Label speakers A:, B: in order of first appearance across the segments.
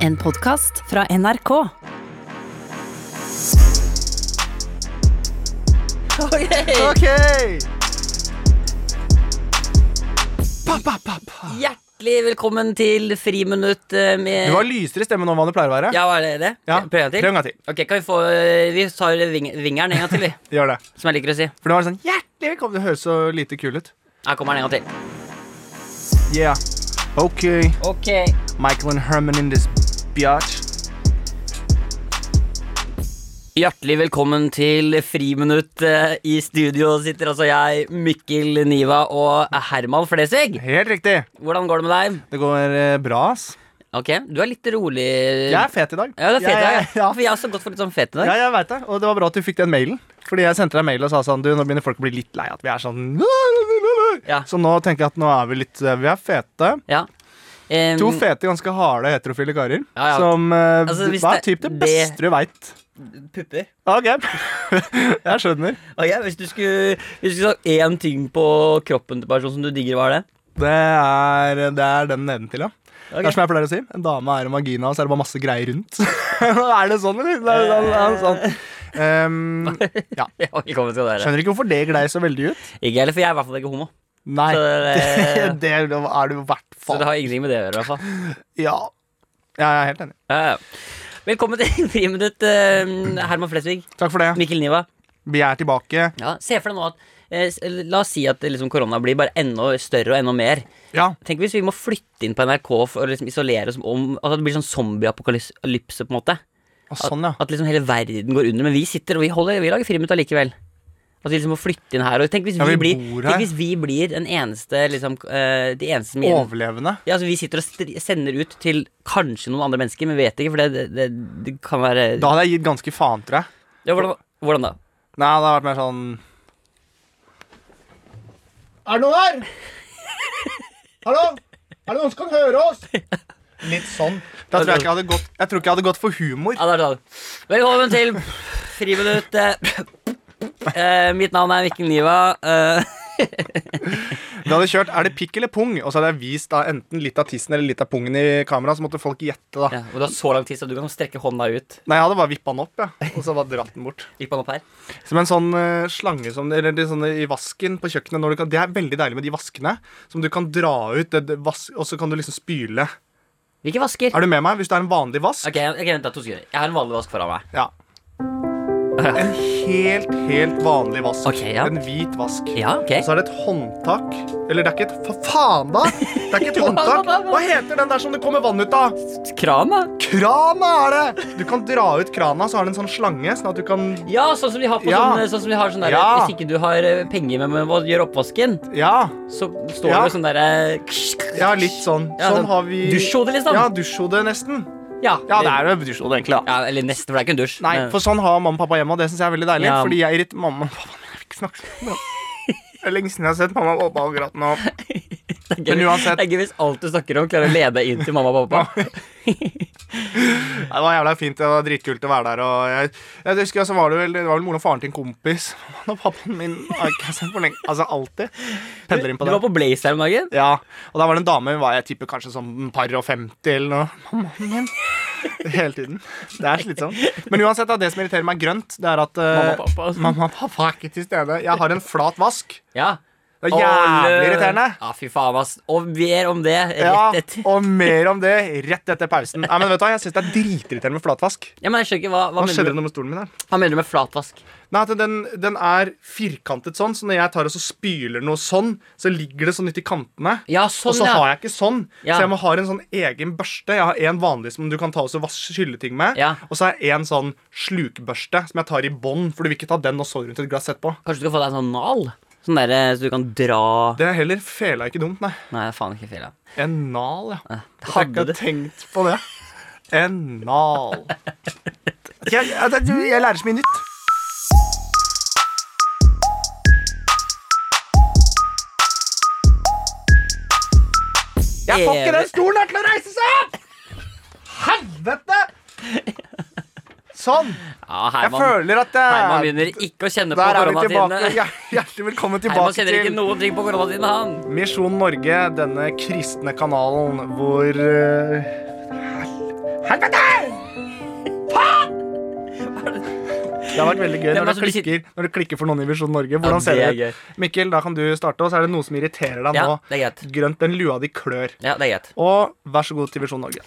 A: En podkast fra NRK.
B: Ok!
C: Hjertelig velkommen til Friminutt eh, med
B: Du har lysere stemme nå enn hva det pleier å være.
C: Ja, var det det?
B: Ja,
C: Prøv en til?
B: prøv en gang til.
C: Ok, kan vi få eh, Vi tar ving vingeren en gang til, vi.
B: Gjør det.
C: Som jeg liker å si.
B: For nå er det sånn hjertelig velkommen. Det høres så lite kul ut.
C: Her kommer den en gang til.
B: Yeah. Ok.
C: Ok.
B: Michael and Herman in this biatch.
C: Hjertelig velkommen til Friminutt. eh, I studio sitter altså jeg, Mikkel Niva og Herman Flesvig.
B: Helt riktig.
C: Hvordan går det med deg?
B: Det går eh, bra, ass.
C: Ok, Du er litt rolig.
B: Jeg er fet i dag.
C: Ja, det er fet i dag.
B: Ja,
C: For jeg har også gått for litt sånn fet i
B: ja.
C: dag.
B: ja jeg vet det. Og det var bra at du fikk den mailen. Fordi jeg sendte deg mail og sa sånn Du, nå begynner folk å bli litt lei at vi er sånn
C: Ja.
B: Så nå tenker jeg at nå er vi litt eh, Vi er fete.
C: Ja. Em,
B: To fete, ganske harde heterofile karer.
C: Mhm. Ja, ja.
B: Som eh,
C: Altså, hvis
B: Hva er
C: det-
B: typ det
C: det-
B: beste du veit?
C: pupper.
B: Ok. jeg skjønner.
C: Ok, Hvis du skulle, hvis du skulle sagt én ting på kroppen til personen som du digger, hva er det?
B: Det er, det er den nedentil, ja.
C: Ok.
B: Det er som jeg pleier å si. En dame er en vagina, og så er det bare masse greier rundt. er det sånn, eller? Det er, det er sånn. Ehm, ja.
C: Ja, velkommen skal dere.
B: Skjønner ikke hvorfor det glei så veldig ut.
C: Ikke jeg heller, for jeg er i hvert fall ikke homo.
B: Nei.
C: Så det- eh,
B: Det er du i hvert
C: Så det
B: fall.
C: har ingenting med det å gjøre, i hvert fall.
B: Ja. ja. Jeg er helt enig.
C: Ja, ja. Velkommen til Friminutt, eh, Herman Flesvig,
B: Takk for det.
C: Mikkel Niva.
B: Vi er tilbake.
C: Ja, se for deg nå at eh, s- La oss si at liksom, korona blir bare enda større og enda mer.
B: Ja.
C: Tenk hvis vi må flytte inn på NRK for å liksom, isolere oss om At det blir sånn zombieapokalypse, på en måte.
B: Og sånn, ja.
C: At liksom hele verden går under. Men vi sitter og vi, holder, vi lager friminutt allikevel. At vi liksom må flytte inn her. Og tenk hvis vi,
B: Ja, vi
C: blir,
B: bor her.
C: tenk hvis vi blir den eneste liksom, eh, De eneste som
B: Overlevende.
C: ja, altså Vi sitter og stri- sender ut til kanskje noen andre mennesker, men vi vet ikke, for det, det, det, det kan være
B: Da hadde jeg gitt ganske faen, tror jeg.
C: ja, hvordan, hvordan da?
B: Nei, det hadde vært mer sånn Er det noen her? Hallo? Er det noen som kan høre oss? Litt sånn. Da tror jeg, ikke jeg, hadde gått, jeg tror ikke jeg hadde gått for humor.
C: Ja, da er det sånn. Velkommen til Friminutt. eh, eh, mitt navn er Mikkel Niva. eh,
B: Vi hadde kjørt 'er det pikk eller pung', og så hadde jeg vist da enten litt av tissen eller litt av pungen i kamera, så måtte folk gjette, da.
C: ja, og du har så lang tid, så du kan strekke hånda ut.
B: Nei, jeg hadde bare vippa den opp, ja. og så bare dratt den bort.
C: Gikk man opp her?
B: Som en sånn eh, slange som, eller det sånne i vasken på kjøkkenet. Når du kan, det er veldig deilig med de vaskene som du kan dra ut, det, det, vas, og så kan du liksom spyle.
C: Hvilke vasker?
B: Er du med meg? Hvis det er en vanlig vask
C: Ok, ok, vent da, to sekunder. Jeg har en vanlig vask foran meg.
B: Ja. En helt, helt vanlig vask.
C: Ok, ja.
B: En hvit vask.
C: Ja, ok.
B: Og så er det et håndtak. Eller det er ikke et For faen, da! Det er ikke et håndtak. Hva heter den der som det kommer vann ut av?
C: Kran, da?
B: Krana er det! Du kan dra ut krana, så har den en sånn slange, sånn at du kan
C: Ja, sånn som de har på
B: Ja.
C: sånn, sånn som de har sånn der,
B: Ja.
C: Hvis ikke du har eh, penger med, med å gjøre oppvasken,
B: Ja.
C: så står
B: Ja.
C: det sånn derre
B: Ja, litt sånn.
C: Ja,
B: Sånn
C: sånn
B: har vi
C: dusjhode, liksom.
B: Ja, dusjhode, nesten.
C: Ja,
B: Ja, det er jo dusjhode, egentlig, da.
C: Ja, eller nesten, for det er ikke en dusj.
B: Nei,
C: men-
B: for sånn har mamma og pappa hjemme, og det syns jeg er veldig deilig.
C: Ja.
B: Fordi jeg irriterer mamma og pappa. Jeg vil ikke snakke sånn. Det er lenge siden jeg har sett mamma og pappa akkurat nå.
C: det er gøy-
B: men uansett.
C: Det er gøy hvis alt du snakker om, klarer å lede inn til mamma og pappa.
B: Nei, Det var jævla fint det var dritkult å være der. Og jeg, jeg husker så var det, vel, det var vel moren og faren til en kompis. Han og pappaen min har ikke jeg sett på lenge. Altså alltid. Pendler inn på
C: Du var
B: det.
C: på Blaze her om dagen.
B: Ja, Og da var det en dame, hun var jeg tipper kanskje sånn par og femti eller noe. Mammaen min. Hele tiden. Det er slitsomt. Men uansett, da, det som irriterer meg grønt, det er at eh,
C: Mamma og pappa, altså.
B: mamma og pappa er ikke til stede. Jeg har en flat vask.
C: Ja.
B: Det er jævlig irriterende.
C: Ja, fy faen, ass. Og mer om det
B: Ja,
C: rett etter.
B: og mer om det rett etter pausen. Nei, men vet du hva, Jeg syns det er dritirriterende med flatvask.
C: Ja, men jeg skjønner ikke, hva, hva,
B: Hva
C: mener
B: skjedde
C: du,
B: det med stolen min her?
C: hva mener du med flatvask?
B: Nei, at den, den er firkantet sånn, så når jeg tar og så spyler noe sånn, så ligger det sånn uti kantene.
C: Ja, sånn,
B: og så
C: ja.
B: har jeg ikke sånn,
C: Ja.
B: så jeg må ha en sånn egen børste. Jeg har en vanlig som du kan ta og så vas- skylle ting med.
C: Ja.
B: Og så har jeg en sånn slukbørste som jeg tar i bånd, for du vil ikke ta den og så rundt et glass etterpå.
C: Kanskje du kan få deg en sånn nal? Sånn der, eh, så du kan dra
B: Det er heller fela ikke dumt, nei.
C: Nei, faen ikke feil. ja.
B: En nal, ja. Jeg har
C: Hadde
B: ikke
C: det.
B: tenkt på det. En nal. Jeg, jeg, jeg, jeg lærer så mye nytt. Jeg får ikke den stolen her til å reise seg opp! Helvete! Sånn.
C: Ja,
B: Jeg
C: Herman,
B: føler at
C: Herman
B: jeg
C: begynner ikke å kjenne på
B: Der er vi
C: koronatidene.
B: tilbake. Hjer- Hjertelig velkommen
C: Herman
B: tilbake
C: kjenner ikke
B: til
C: noen ting på koronatiden, han.
B: Misjon Norge, denne kristne kanalen hvor eh, hel- Helvete! Faen! Det har vært veldig gøy
C: Hvem er
B: når
C: det
B: du,
C: som blir
B: klikker, når du klikker for noen i Visjon Norge. Hvordan
C: det
B: ser
C: er
B: det ut? Mikkel, da kan du starte, og så er det noe som irriterer deg
C: Ja,
B: nå.
C: det er greit.
B: Grønt, den lua di klør.
C: Ja, det er greit.
B: Og vær så god til Visjon Norge.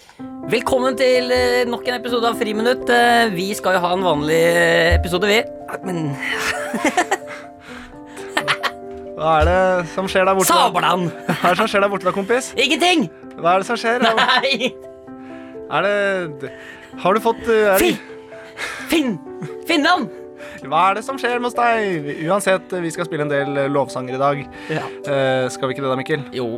C: Velkommen til eh, nok en episode av Friminutt. Eh, Vi skal jo ha en vanlig eh, episode, vi. Men
B: Hva er det som skjer der borte?
C: Sabeltann!
B: Hva er det som skjer der borte, da, kompis?
C: Ingenting!
B: Hva er det som skjer?
C: Nei!
B: Er det Har du fått eh, er det,
C: Finn! Finn! Finland!
B: Hva er det som skjer med oss deg? Uansett, vi skal spille en del eh, lovsanger i dag.
C: Ja.
B: Eh, skal vi ikke det da, Mikkel?
C: Jo.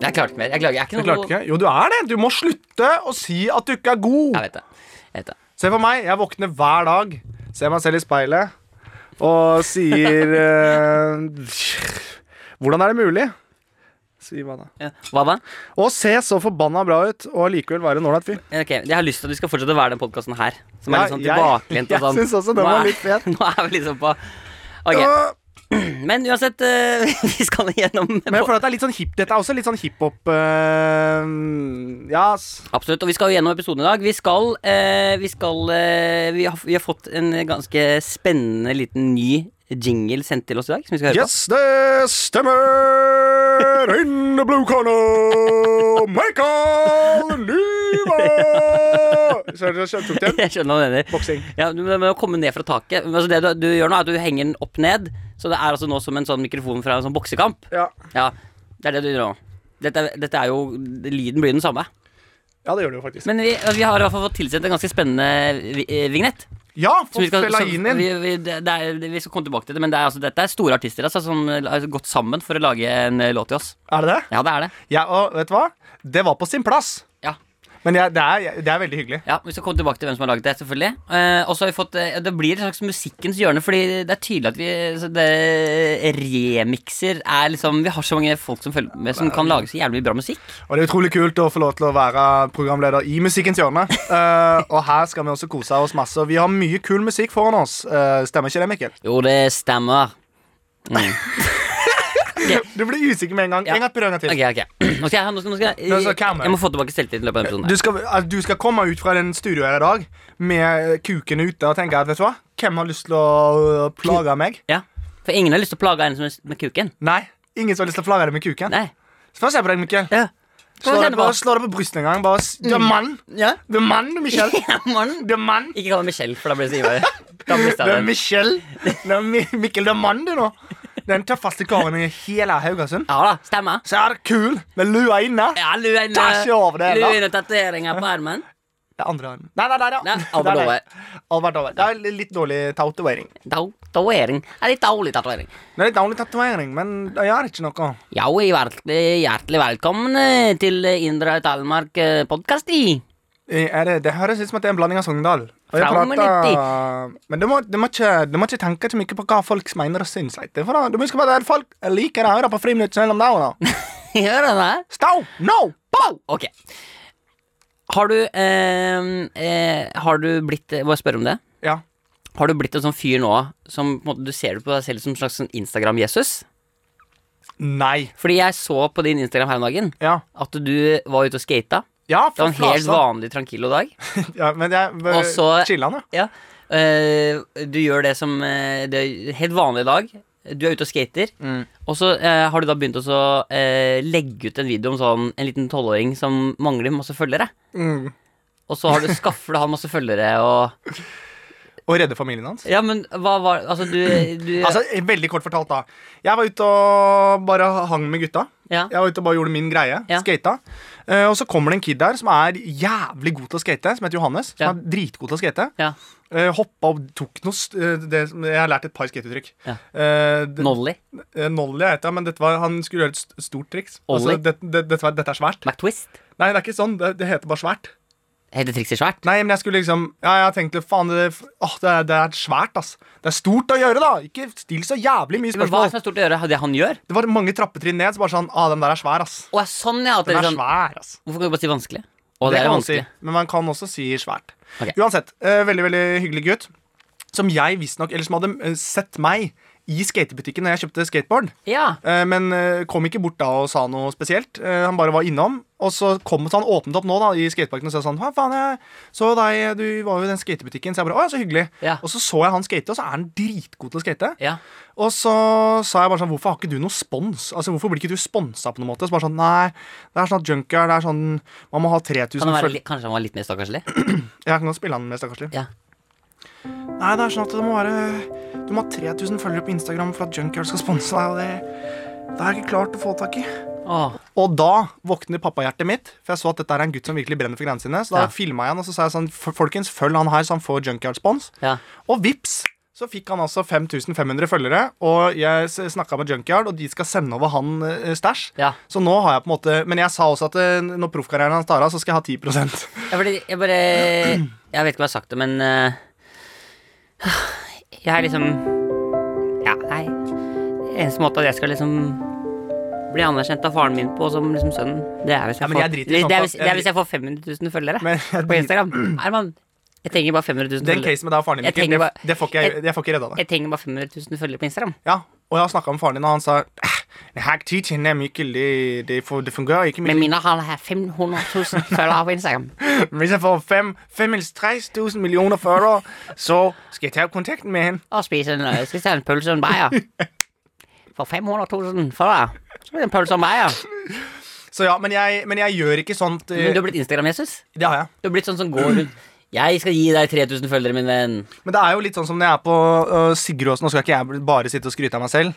C: Jeg klarte ikke mer. Jeg klager. Jeg er ikke
B: Du
C: noe
B: klarte ikke? Jo, du er det! Du må slutte å si at du ikke er god!
C: Jeg vet det. Jeg vet det.
B: Se på meg, jeg våkner hver dag, ser meg selv i speilet og sier eh, Hvordan er det mulig? Sier hva da?
C: Ja. Hva da?
B: Å se så forbanna bra ut og allikevel være en ålreit fyr.
C: Ok, Jeg har lyst til at vi skal fortsette å være den podkasten her. Som er
B: Ja,
C: litt sånn
B: jeg-
C: tilbakelent
B: jeg
C: og sånn.
B: synes også den
C: Nå
B: var
C: er-
B: litt fet.
C: Nå er vi liksom på Ok,
B: Øh,
C: Men uansett, eh, vi skal gjennom
B: Men jeg føler at det er litt sånn hip, dette er også litt sånn hiphop eh, Ja, ass.
C: Absolutt, og vi skal jo gjennom episoden i dag. Vi skal, eh, vi, skal eh, vi, har, vi har fått en ganske spennende liten ny jingle sendt til oss i dag. Som vi skal høre
B: Yes, det stemmer! In the blue corner, Michael Lyva! Så jeg jeg tok
C: på.
B: den.
C: Jeg skjønner hva du mener.
B: Boksing.
C: Ja, du må å komme ned fra taket. Altså det du, du gjør nå, er at du henger den opp ned. Så det er altså nå som en sånn mikrofon fra en sånn boksekamp.
B: Ja.
C: Ja, det er det du gjør nå. Dette, er- dette er jo Lyden blir den samme.
B: ja, det gjør du jo faktisk.
C: Men vi, vi har i hvert fall fått tilsendt en ganske spennende vi- eh, vignett.
B: Ja,
C: som
B: få spilla
C: som-
B: inn inn.
C: vi, vi, det det er, vi skal komme tilbake til det, men det er, altså, dette er store artister altså, som har gått sammen for å lage en eh, låt til oss.
B: Er det det?
C: Ja, det er det.
B: Ja, og vet du hva? Det var på sin plass.
C: Ja.
B: Men jeg, det, er, jeg, det er veldig hyggelig.
C: Ja, Vi skal komme tilbake til hvem som har laget det. selvfølgelig eh, Og så har vi fått eh, Det blir et slags musikkens hjørne, Fordi det er tydelig at vi så det, remikser er liksom Vi har så mange folk som følger med, som kan lage så jævlig bra musikk.
B: Og det er utrolig kult å få lov til å være programleder i Musikkens hjørne. Eh, og her skal vi også kose oss masse. Og vi har mye kul musikk foran oss. Eh, stemmer ikke det, Mikkel?
C: Jo, det stemmer. Mm.
B: Du ble usikker med en gang.
C: Ja.
B: En gang til, en gang til.
C: Ok, ok Nå skal jeg, nå skal, nå skal jeg,
B: Nå skal
C: jeg,
B: kamera.
C: må få tilbake selvtilliten i løpet av denne
B: Du
C: episoden.
B: skal, altså, du skal komme ut fra den studioet her i dag med eh, kuken ute og tenke at vet du hva? Hvem har lyst til å øh, plage meg?
C: her. Ja, For ingen har lyst til å plage en som er med kuken.
B: Nei. Ingen som har lyst til å plage deg med kuken?
C: Nei.
B: Få se på deg, Mikkel.
C: Ja.
B: Slå
C: kjenne på.
B: deg,
C: Mm.
B: bare, slå deg på brystet en gang. Bare, s- du er mann.
C: Ja.
B: Du er mann, du, Michelle.
C: Mann.
B: Du er mann.
C: Ikke kall meg Michelle, for da blir det så ivrig. Da mister
B: Det er
C: jeg den.
B: Michelle. Det er Mi Mikkel, det er mannen du nå. Den tøffeste karen i hele Haugesund.
C: Ja da, stemmer.
B: Så er det kul med lua inne.
C: Ja, luen
B: Ta ikke over
C: eh,
B: det, da.
C: Luen og tatoveringer på armen.
B: Det er andre hånden. Nei, nei, nei.
C: Nei,
B: nei.
C: Albert
B: Nei, nei.
C: Ove.
B: Albert Ove. Det er litt dårlig tatovering.
C: eh, Tatovering. Er litt dårlig tatovering.
B: Det er litt dårlig tatovering, men det gjør ikke noe.
C: Ja, og hjertelig, hjertelig velkommen eh, til Indre Telemark podkast i.
B: Eh, Er det, det høres ut som at det er en blanding av Sogndal. Og jeg
C: Fra og med
B: prater, men du må, du, må ikke, du må ikke tenke så mye på hva folk mener og syns. vet Du For da- du må huske på at folk liker å høre på Friminutt selv om dagen. da.
C: Hører du det?
B: Stå! No!
C: Pow! Ok. Har du eh, eh, Har du blitt eh, Må jeg spørre om det?
B: Ja.
C: Har du blitt en sånn fyr nå som på en måte, du ser det på deg selv som en slags sånn Instagram-Jesus?
B: Nei.
C: Fordi jeg så på din Instagram her om dagen
B: Ja.
C: at du var ute og skata.
B: Ja,
C: Det var en helt
B: flasa.
C: vanlig tranquillo dag.
B: Ja, men jeg eh,
C: Og så-
B: Chilla nå.
C: Ja. Eh, du gjør det som eh, Det er helt vanlig i dag. Du er ute og skater, og så eh, har du da begynt å så, eh, legge ut en video om sånn, en liten tolvåring som mangler masse følgere.
B: Mm.
C: Og så har du skaffer du han masse følgere og
B: Og redde familien hans.
C: Ja, men hva var Altså, du, du
B: Altså, Veldig kort fortalt, da. Jeg var ute og bare hang med gutta.
C: ja.
B: Jeg var ute og bare gjorde min greie.
C: Ja.
B: Skata. Eh, og så kommer det en kid der som er jævlig god til å skate, som heter Johannes. Som
C: Ja.
B: er dritgod til å skate.
C: ja.
B: Eh, hoppa og tok noe st eh, det, Jeg har lært et par skateuttrykk.
C: Ja.
B: Eh, det-
C: Nolly.
B: eh, Nolly heter det, men dette var, han skulle gjøre et st- stort triks.
C: Ollie?
B: Altså, det, det, dette, var- dette er svært.
C: McTwist.
B: Nei, det er ikke sånn. Det, det heter bare svært.
C: Heter trikset svært?
B: Nei, men jeg skulle liksom Ja, jeg tenkte faen, det, åh, det, er, det er svært, ass. Det er stort å gjøre, da. Ikke still så jævlig
C: Men
B: mye
C: hva er det
B: spørsmål.
C: som er stort å gjøre? Det han gjør?
B: Det var mange trappetrinn ned, så bare sånn Ah, den der er svær, ass.
C: Å, ja, sånn, ja. At det
B: Den
C: er
B: er
C: sånn,
B: svær, ass.
C: hvorfor kan du bare si vanskelig? Å, det,
B: det
C: er
B: kan man si.
C: vanskelig.
B: Men man kan også si svært.
C: Ok.
B: Uansett, eh, veldig, veldig hyggelig gutt. Som jeg visstnok Eller som hadde eh, sett meg i skatebutikken da jeg kjøpte skateboard.
C: Ja.
B: Eh, Men eh, kom ikke bort da og sa noe spesielt. Eh, Han bare var innom. Og så kom så han åpnet opp nå da i skateparken og sa sånn Hva faen, jeg så deg, du var jo i den skatebutikken. Så jeg bare Å, ja, så hyggelig.
C: Ja.
B: Og så så jeg han skate, og så er han dritgod til å skate.
C: ja.
B: Og så sa jeg bare sånn Hvorfor har ikke du noe spons? Altså, Hvorfor blir ikke du sponsa på noen måte? Så bare sånn Nei, det er sånn at junker, det er sånn Man må ha 3000
C: Kan han være,
B: følg-
C: litt- kanskje han var litt mer stakkarslig?
B: Jeg kan godt spille han med, stakkarslig.
C: Ja.
B: Nei, det er sånn at det må være Du må ha 3000 følgere på Instagram for at Junkyard skal sponse deg, og det Det har jeg ikke klart å få tak i.
C: Åh,
B: Og da våkner pappahjertet mitt, for jeg så at dette er en gutt som virkelig brenner for greiene sine. Så da
C: Ja.
B: filmet filma jeg han, og så sa jeg sånn "F- Folkens, følg han her, så han får Junkyard-spons.
C: ja.
B: Og vips, så fikk han altså 5500 følgere, og jeg snakka med Junkyard, og de skal sende over han eh, stæsj.
C: Ja.
B: Så nå har jeg på en måte Men jeg sa også at eh, når proffkarrieren hans tar av, så skal jeg ha 10
C: Jeg, ble, jeg bare Jeg vet ikke om jeg har sagt det, men eh, Jeg er liksom Ja, nei. Eneste måte at jeg skal liksom bli anerkjent av faren min på som liksom sønnen, det er hvis jeg,
B: Ja, men jeg
C: får,
B: driter i
C: det, det
B: sånt, da.
C: er hvis,
B: Jeg
C: det er hvis jeg får 500 000 følgere
B: Men jeg
C: på
B: driter-
C: Instagram. Nei, mann, jeg trenger bare 500 000
B: Den
C: følgere.
B: casen med deg og faren din,
C: Jeg
B: Mikkel,
C: trenger
B: det,
C: bare-
B: det får ikke jeg, jeg får ikke redda det.
C: Jeg trenger bare 500 000 følgere på Instagram.
B: Ja, og jeg har snakka med faren din, og han sa "Eh, det her teaching er Mikkel, det, det, får- det fungerer ikke.
C: Med
B: Mikkel.
C: mindre han har 500 000 følgere på Instagram.
B: Hvis jeg får fem, fem eller 3000 millioner følgere, så skal jeg ta kontakt med henne.
C: Og spise en, øh, spise en pølse og en bayer. For 500 000 følgere. Så blir det en pølse og en bayer.
B: Så ja, men jeg, men jeg gjør ikke sånt. eh,
C: Men du har blitt Instagram-Jesus?
B: Det har jeg.
C: Du har blitt sånn som går rundt Jeg skal gi deg 3000 følgere, min venn.
B: Men det er jo litt sånn som når jeg er på uh, Sigurdåsen, nå skal ikke jeg bare sitte og skryte av meg selv.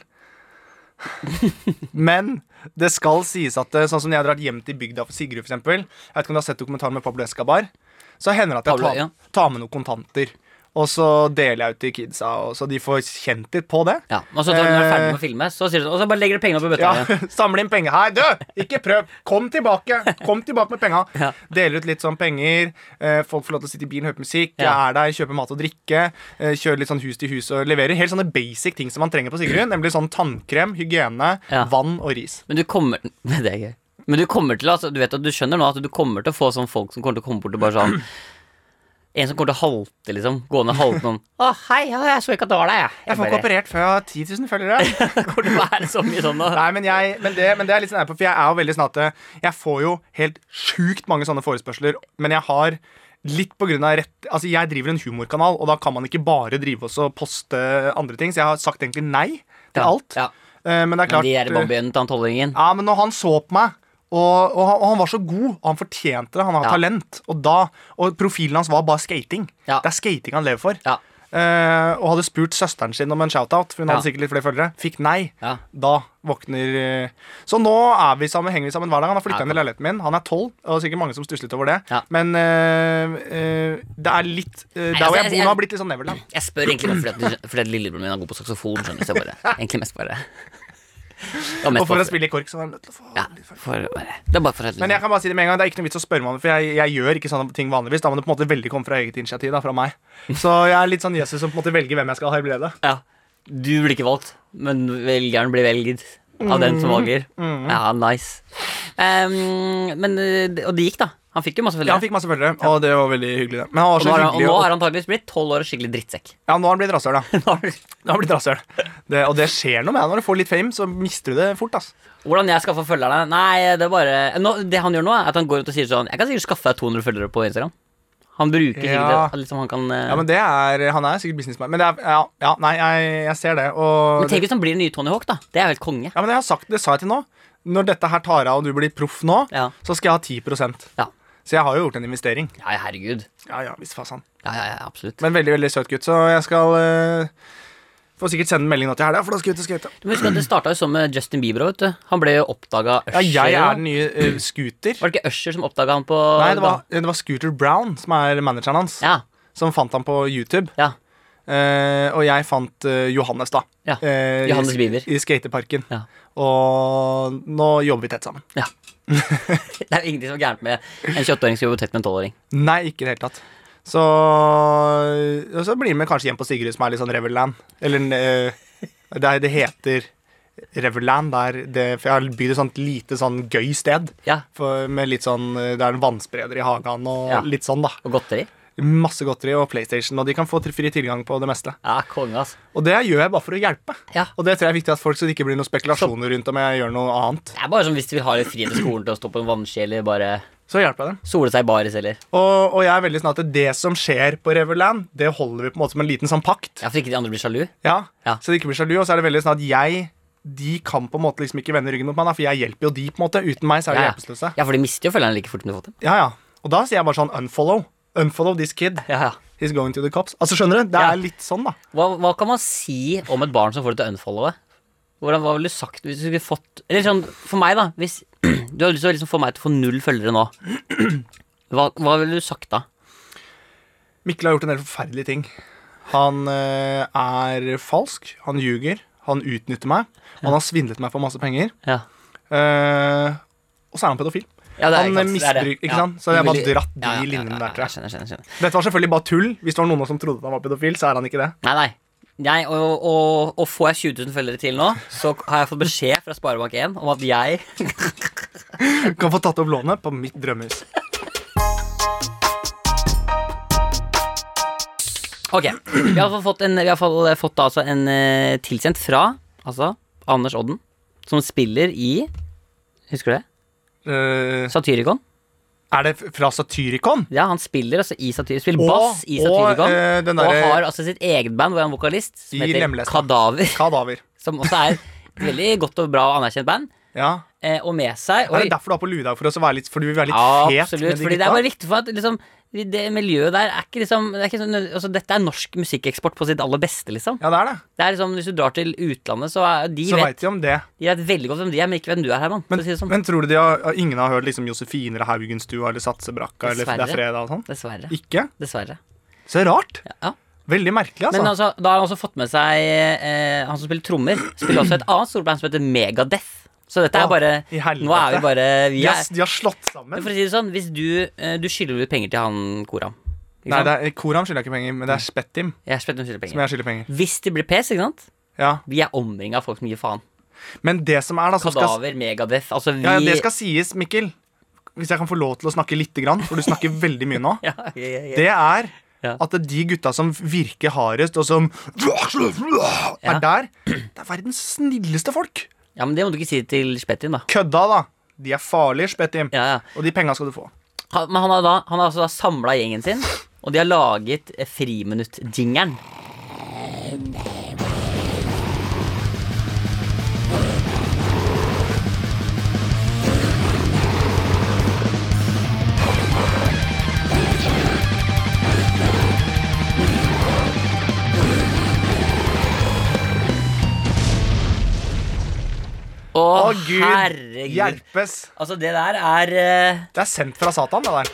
B: Men det skal sies at eh, sånn som når jeg drar hjem til bygda for Sigrud, f.eks. Jeg vet ikke om du har sett dokumentaren med Pablo Escabar. Så hender det at jeg
C: Pablo,
B: tar,
C: ja.
B: tar med noen kontanter. Og så deler jeg ut til kidsa, og så de får kjent litt på det.
C: Ja, og så når du er ferdig med å filme, så sier du sånn Og så bare legger du pengene opp i bøtta.
B: Ja,
C: igjen.
B: Samle inn penger. Hei, du! Ikke prøv! Kom tilbake! Kom tilbake med penga.
C: Ja.
B: Deler ut litt sånn penger. eh, Folk får lov til å sitte i bilen, høre på musikk. Jeg
C: Ja.
B: er der, kjøper mat og drikke. eh, Kjører litt sånn hus til hus og leverer. Helt sånne basic ting som man trenger på Sigrun. Nemlig sånn tannkrem, hygiene,
C: Ja.
B: vann og ris.
C: Men du kommer Det er gøy. Men du kommer til altså, Du vet at du skjønner nå at du kommer til å få sånn folk som kommer til å komme bort og bare sånn En som kommer til å halte, liksom. Gå ned og halte noen. Å, hei, ja, jeg så ikke at det var deg, jeg.
B: Jeg får ikke
C: bare-
B: operert før jeg har 10 000 følgere.
C: Kommer til å være så mye sånn nå.
B: Nei, men, jeg, men, det, men det er litt sånn her på, for jeg er jo veldig sånn at eh, jeg får jo helt sjukt mange sånne forespørsler, men jeg har litt på grunn av rett Altså, jeg driver en humorkanal, og da kan man ikke bare drive oss og poste andre ting, så jeg har sagt egentlig nei til alt.
C: Ja.
B: Eh, Men det er
C: Men
B: klart
C: de der
B: eh,
C: bambiene til han tolvåringen
B: Ja, men når han så på meg og, og, han, og han var så god, og han fortjente det. Han har
C: Ja.
B: talent. Og, da, og profilen hans var bare skating.
C: Ja.
B: Det er skating han lever for.
C: Ja.
B: Eh, og hadde spurt søsteren sin om en shout-out, for hun hadde
C: Ja.
B: sikkert litt flere følgere. Fikk nei.
C: Ja.
B: Da våkner eh, Så nå er vi sammen, henger vi sammen hver dag. Han har flytta
C: Ja.
B: inn i leiligheten min. Han er tolv, og det er sikkert mange som stusser litt over det.
C: Ja.
B: Men eh, eh, det er litt eh, Der
C: altså,
B: hvor
C: jeg-
B: jeg bor nå,
C: jeg-
B: har blitt litt sånn Neverland.
C: Jeg spør egentlig bare fordi, at, fordi at lillebroren min er god på saksofon. Skjønner, du, så jeg bare, egentlig mest bare Det var mest
B: Og for
C: bare-
B: å spille i kork, så var jeg nødt til å få
C: ja, for, bare, Det er bare for at
B: Men jeg kan bare si det med en gang, det er ikke noe vits å spørre meg om det, for jeg, jeg gjør ikke sånne ting vanligvis. Da må det på en måte veldig komme fra eget initiativ, da, fra meg. Så jeg er litt sånn Jesus som på en måte velger hvem jeg skal helbrede.
C: ja, Du blir ikke valgt, men velgeren blir velget av den
B: Mm.
C: som valger. Ja, nice. Ehm, men, eh, det- og det gikk, da. Han fikk jo masse
B: Ja,
C: følgere.
B: han fikk masse følgere, og det var veldig hyggelig, det. Men han
C: og
B: var
C: nå
B: så
C: har han, og
B: hyggelig
C: nå
B: og-
C: har han antakeligvis blitt tolv år og skikkelig drittsekk.
B: Ja, nå har han blitt rasshøl, da.
C: Nå har han-
B: Nå har han blitt rasshøl. Det, og det skjer noe med deg når du får litt fame, så mister du det fort, ass.
C: Hvordan jeg skaffer følgerne? Nei, det er bare nå, Det han gjør nå, er at han går rundt og sier sånn Jeg kan sikkert skaffe deg 200 følgere på Instagram. Han bruker
B: Ja.
C: sikkert det, liksom han kan eh,
B: Ja, men det er Han er sikkert businessman, men det er Ja, ja nei, jeg, jeg ser det, og
C: Men tenk hvis han blir den nye Tony Hawk, da. Det er jo helt konge.
B: Ja, men jeg har sagt, det sa jeg til nå. Når dette her tar av og du blir proff nå,
C: Ja.
B: så skal jeg ha 10
C: Ja,
B: Så jeg har jo gjort en investering.
C: ja herregud.
B: Ja, ja, visst fasan.
C: Ja, ja, ja, absolutt.
B: Men veldig veldig søt gutt, så jeg skal uh, Får sikkert sende en melding nå til helga, for da skal jeg ut og skate.
C: Du må huske at Det starta jo sånn med Justin Bieber. vet du Han ble jo oppdaga
B: Ja,
C: Usher.
B: jeg
C: jo.
B: er den nye eh, Scooter.
C: Var det ikke Usher som oppdaga han på
B: Nei, det var, det var Scooter Brown som er manageren hans,
C: Ja,
B: som fant han på YouTube.
C: ja,
B: Eh, og jeg fant eh, Johannes, da.
C: ja.
B: eh, i
C: Johannes
B: sk-
C: Bieber.
B: I skateparken.
C: Ja.
B: Og nå jobber vi tett sammen.
C: ja. det er jo ingenting som er gærent med en 28-åring som jobber tett med en 12-åring.
B: Nei, ikke i det hele tatt. Så Og så blir vi kanskje hjem på Sigrud, som er litt sånn Reverland. Eller eh, det, er- det heter Reverland. Det er det, for jeg har bygd et sånt lite sånn gøy sted.
C: Ja,
B: For, med litt sånn, eh, Det er en vannspreder i hagen og
C: Ja.
B: litt sånn, da.
C: Og godteri.
B: masse godteri og PlayStation, og de kan få til- fri tilgang på det meste.
C: Ja, konge, ass.
B: Og det gjør jeg bare for å hjelpe.
C: Ja.
B: Og det tror jeg er viktig at folk, så det ikke blir noen spekulasjoner rundt om jeg gjør noe annet.
C: Det er bare som hvis du vil ha litt fri til skolen til å stå på en vannski eller bare
B: Så hjelper jeg dem.
C: sole seg i baris eller
B: Og, og jeg er veldig sånn at det som skjer på Reverland, det holder vi på en måte som en liten sånn pakt.
C: Ja, for ikke de andre blir sjalu.
B: Ja.
C: Ja.
B: Så de ikke blir sjalu. Og så er det veldig sånn at jeg de kan på en måte liksom ikke vende ryggen mot meg, da, for jeg hjelper jo de. på en måte Uten meg så er de
C: Ja,
B: hjelpeløse.
C: Ja, for de mister jo følgerne like fort som de har fått dem.
B: Ja, ja. Og da sier jeg bare sånn unfollow. Unfollow this kid.
C: Ja, ja.
B: He's going to the cops. Altså, skjønner du? Det
C: Ja.
B: er litt sånn, da.
C: Hva, hva kan man si om et barn som får det til å unfollowe? Hvordan, hva ville du sagt hvis du skulle fått Eller sånn, for meg, da. Hvis du hadde lyst til å liksom få meg til å få null følgere nå, hva, hva ville du sagt da?
B: Mikkel har gjort en del forferdelige ting. Han eh, er falsk, han ljuger, han utnytter meg. Han har svindlet meg for masse penger.
C: Ja,
B: Eh, og så er han pedofil.
C: ja
B: Han misbruker, ikke sant? Så jeg har bare dratt de linjene der, tror
C: jeg.
B: jeg.
C: Skjønner, skjønner, skjønner.
B: Dette var selvfølgelig bare tull. Hvis det var noen som trodde han var pedofil, så er han ikke det.
C: Nei, nei. Nei, og, og, og får jeg 20 000 følgere til nå, så har jeg fått beskjed fra Sparebank1 om at jeg
B: Kan få tatt opp lånet på mitt drømmehus.
C: Ok, vi har iallfall fått, en, vi har i hvert fall fått da, altså, en eh, tilsendt fra altså, Anders Odden, som spiller i Husker du det?
B: Eh,
C: Satyricon.
B: er det f- fra Satyricon?
C: Ja, han spiller altså i Satyr, spiller bass i
B: og
C: Satyricon.
B: eh, den
C: Og, har
B: derre
C: altså sitt eget band hvor han er vokalist, som
B: I
C: heter
B: Lemlesta.
C: Kadaver.
B: Kadaver.
C: Som også er et veldig godt og bra og anerkjent band.
B: Ja.
C: Eh, og med seg
B: Er
C: oi,
B: det derfor du har på lue i dag? For, å være litt- for du vil være litt
C: ja,
B: fet
C: Absolutt.
B: med de
C: Fordi det er
B: gutta?
C: bare viktig for at liksom, det miljøet der er ikke liksom det er ikke sånn, altså, Dette er norsk musikkeksport på sitt aller beste, liksom.
B: Ja, det er det.
C: Det er liksom, Hvis du drar til utlandet, så er de
B: Så
C: vet
B: veit de om det.
C: De vet veldig godt hvem de er, men ikke hvem du er, Herman.
B: Men,
C: for å si det sånn.
B: men tror du de har, ingen har hørt liksom Josefine eller Haugenstua eller Satsebrakka eller Det
C: Dessverre.
B: er fredag og sånn?
C: Dessverre.
B: Ikke?
C: Dessverre.
B: Så rart.
C: Ja.
B: Veldig merkelig, altså.
C: Men altså, da har han også fått med seg eh, han som spiller trommer, spiller også et annet stort band som heter Megadeth. Så dette
B: Å,
C: er bare
B: i helvete.
C: Nå er vi bare vi
B: de, har,
C: er,
B: de har slått
C: Men
B: sammen.
C: altså, For å si det sånn, hvis du eh, Du skylder ut penger til han Koram. Ikke sant?
B: Nei,
C: Mm.
B: det er, Koram skylder jeg ikke penger, men det er Spettim
C: Jeg spør om du skylder
B: som
C: penger.
B: jeg skylder penger.
C: Hvis det blir pes, ikke sant?
B: Ja.
C: Vi er omringa av folk som gir faen.
B: Men det som er, da som skal,
C: Kadaver, Megadeth. Altså, vi
B: ja, ja, Det skal sies, Mikkel, hvis jeg kan få lov til å snakke lite grann, for du snakker veldig mye nå,
C: ja, ja, ja, ja.
B: det er
C: Ja.
B: at de gutta som virker hardest, og som er der, det er verdens snilleste folk.
C: ja, men det må du ikke si til Spettin, da.
B: Kødda, da. De er farlige, Spettim.
C: Ja, ja.
B: Og de penga skal du få.
C: Han, men han har, da, han har altså da samla gjengen sin, og de har laget eh, friminutt-jingeren. Å,
B: Å, gud
C: herregud.
B: hjelpes.
C: Altså, det der er eh,
B: Det er sendt fra Satan, det der.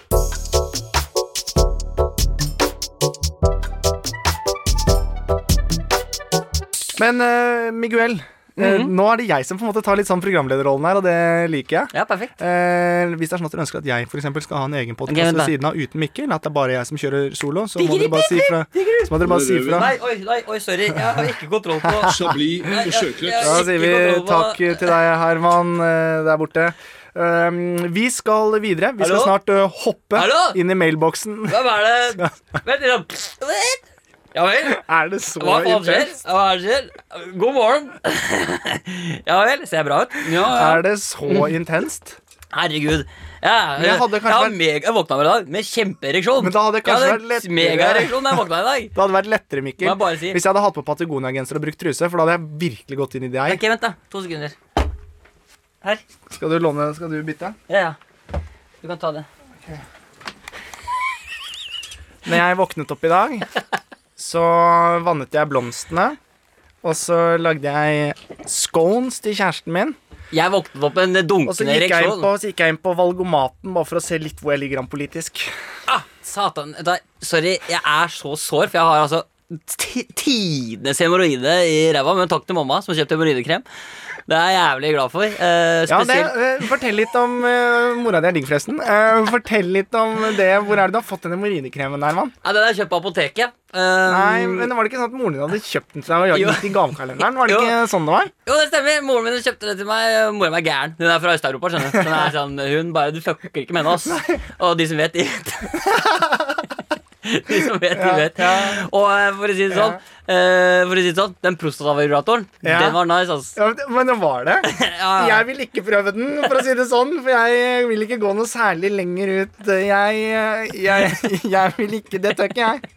B: Men eh, Miguel, eh,
C: Mhm.
B: nå er det jeg som på en måte tar litt sånn programlederrollen her, og det liker jeg.
C: Ja, perfekt.
B: Eh, hvis det er sånn at dere ønsker at jeg for eksempel, skal ha en egen podkast
C: Ok, vent da.
B: ved siden av uten Mikkel, at det er bare jeg som kjører solo, så må
C: Digger,
B: dere bare si fra. Så må dere bare si fra.
C: Nei, oi, nei, oi, sorry. Jeg har ikke kontroll på
D: Chablis forsøknøtt.
B: Da sier vi
C: Ikke kontroll på-
B: takk til deg, Herman, eh, der borte. Um, vi skal videre. Vi skal
C: Hallo?
B: snart eh, hoppe
C: Hallo?
B: inn i mailboksen.
C: Hvem er det Vent litt. sånn. Ja vel?
B: Er det så
C: Hva faen skjer?
B: intenst?
C: Hva er det skjer? God morgen. Ja vel? Ser jeg bra ut? Ja, ja.
B: Er det så intenst?
C: Herregud. Ja,
B: Men jeg hadde kanskje
C: jeg, har
B: vært-
C: mega, jeg våkna i dag med kjempeereksjon.
B: Men da hadde jeg kanskje vært lettere.
C: Megaereksjon da jeg våkna i dag.
B: Det hadde vært lettere, Mikkel,
C: Må jeg bare si.
B: hvis jeg hadde hatt på Patagonia-genser og brukt truse. For da hadde jeg virkelig gått inn i deg.
C: Ok, vent, da. To sekunder. Her.
B: Skal du låne, skal du bytte?
C: Ja, ja. Du kan ta det.
B: Når jeg våknet opp i dag, så vannet jeg blomstene. Og så lagde jeg scones til kjæresten min.
C: Jeg våknet opp med en
B: Og så
C: dunkende
B: gikk jeg inn
C: ereksjon.
B: på, så gikk jeg inn på valgomaten bare for å se litt hvor jeg ligger an politisk.
C: Ah, satan. Da, sorry, jeg er så sår, for jeg har altså ti- tidenes hemoroide i ræva. Men takk til mamma, som har kjøpt hemoroidekrem. Det er jeg jævlig glad for. Eh,
B: Ja, det,
C: spesielt
B: eh, Fortell litt om eh, Mora di er digg, forresten. Eh, fortell litt om det. Hvor er det du har fått den hemoroidekremen der, mann?
C: ja, Den er kjøpt på apoteket. Eh,
B: Nei, men Var det ikke sånn at moren din hadde kjøpt den til deg og
C: Jo.
B: lagd den i gavekalenderen? Var det
C: Jo.
B: ikke sånn det var?
C: Jo, det stemmer. Moren min kjøpte det til meg. Moren min er gæren. Hun er fra Øst-Europa. skjønner du. Hun er sånn, hun bare Du fucker ikke med henne, ass. Og de som vet, de vet. De som vet, de
B: Ja,
C: vet. Og eh, for å si det sånn, eh, for å si det sånn den prostatavibratoren,
B: Ja.
C: den var nice, ass.
B: Ja, men- men det var det.
C: Ja.
B: Jeg vil ikke prøve den, for å si det sånn. For jeg vil ikke gå noe særlig lenger ut. Jeg, jeg, jeg vil ikke Det tør ikke jeg.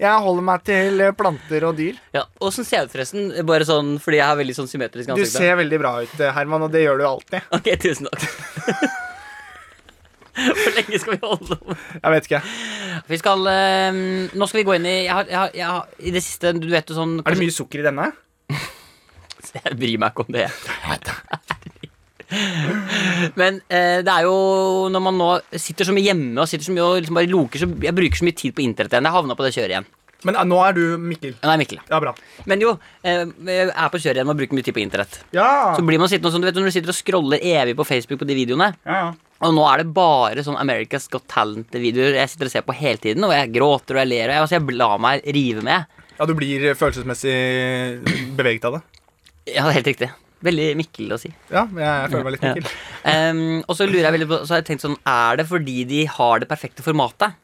B: Jeg holder meg til planter og dyr.
C: Ja, Åssen ser jeg ut, forresten? Bare sånn fordi jeg har veldig sånn symmetrisk
B: Du
C: ansikt. da.
B: ser veldig bra ut, Herman, og det gjør du alltid.
C: Ok, tusen takk. Hvor lenge skal vi holde om?
B: Jeg vet ikke.
C: Vi skal eh, Nå skal vi gå inn i jeg har, jeg har, jeg har, I det siste, du vet jo sånn
B: Er det mye sukker i denne?
C: Jeg bryr meg ikke om det. Men eh, det er jo når man nå sitter så mye hjemme og sitter så mye og liksom bare loker så, Jeg bruker så mye tid på internett igjen. Jeg havna på det kjøret igjen.
B: Men eh, nå er du Mikkel.
C: Nei, Mikkel.
B: Ja, bra.
C: Men jo, eh, jeg er på kjøret igjen med å bruke mye tid på internett.
B: Ja,
C: Så blir man sittende og sånn, du vet Når du sitter og scroller evig på Facebook på de videoene,
B: ja, ja.
C: Og nå er det bare sånn America's Got Talent-videoer jeg sitter og ser på hele tiden. Og jeg gråter og jeg ler. Og jeg, altså, jeg lar meg rive med.
B: ja du blir følelsesmessig beveget av det.
C: Ja, det er helt riktig. Veldig Mikkel å si.
B: Ja, jeg, jeg føler meg litt Mikkel.
C: Ehm, og så lurer jeg veldig på Så har jeg tenkt sånn Er det fordi de har det perfekte formatet?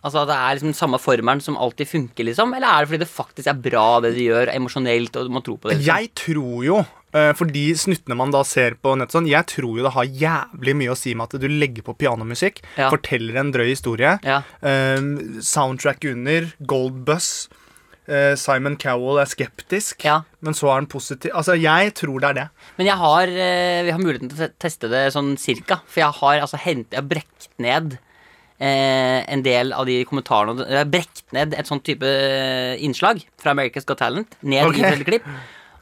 C: Altså at det er liksom den samme formelen som alltid funker, liksom? Eller er det fordi det faktisk er bra, det de gjør, emosjonelt, og man tror på det? Liksom?
B: Jeg tror jo, eh, for de snuttene man da ser på nett sånn, jeg tror jo det har jævlig mye å si med at du legger på pianomusikk,
C: Ja.
B: forteller en drøy historie,
C: Ja.
B: eh, soundtrack under, gold buzz, eh, Simon Cowell er skeptisk,
C: Ja.
B: men så er han positiv. Altså, jeg tror det er det.
C: Men jeg har eh, Vi har muligheten til å te- teste det sånn cirka. For jeg har altså hent, Jeg har brekt ned eh, en del av de kommentarene og det- Jeg har brekt ned et sånn type eh, innslag fra America's Got Talent. Ned
B: Ok.
C: i et klipp.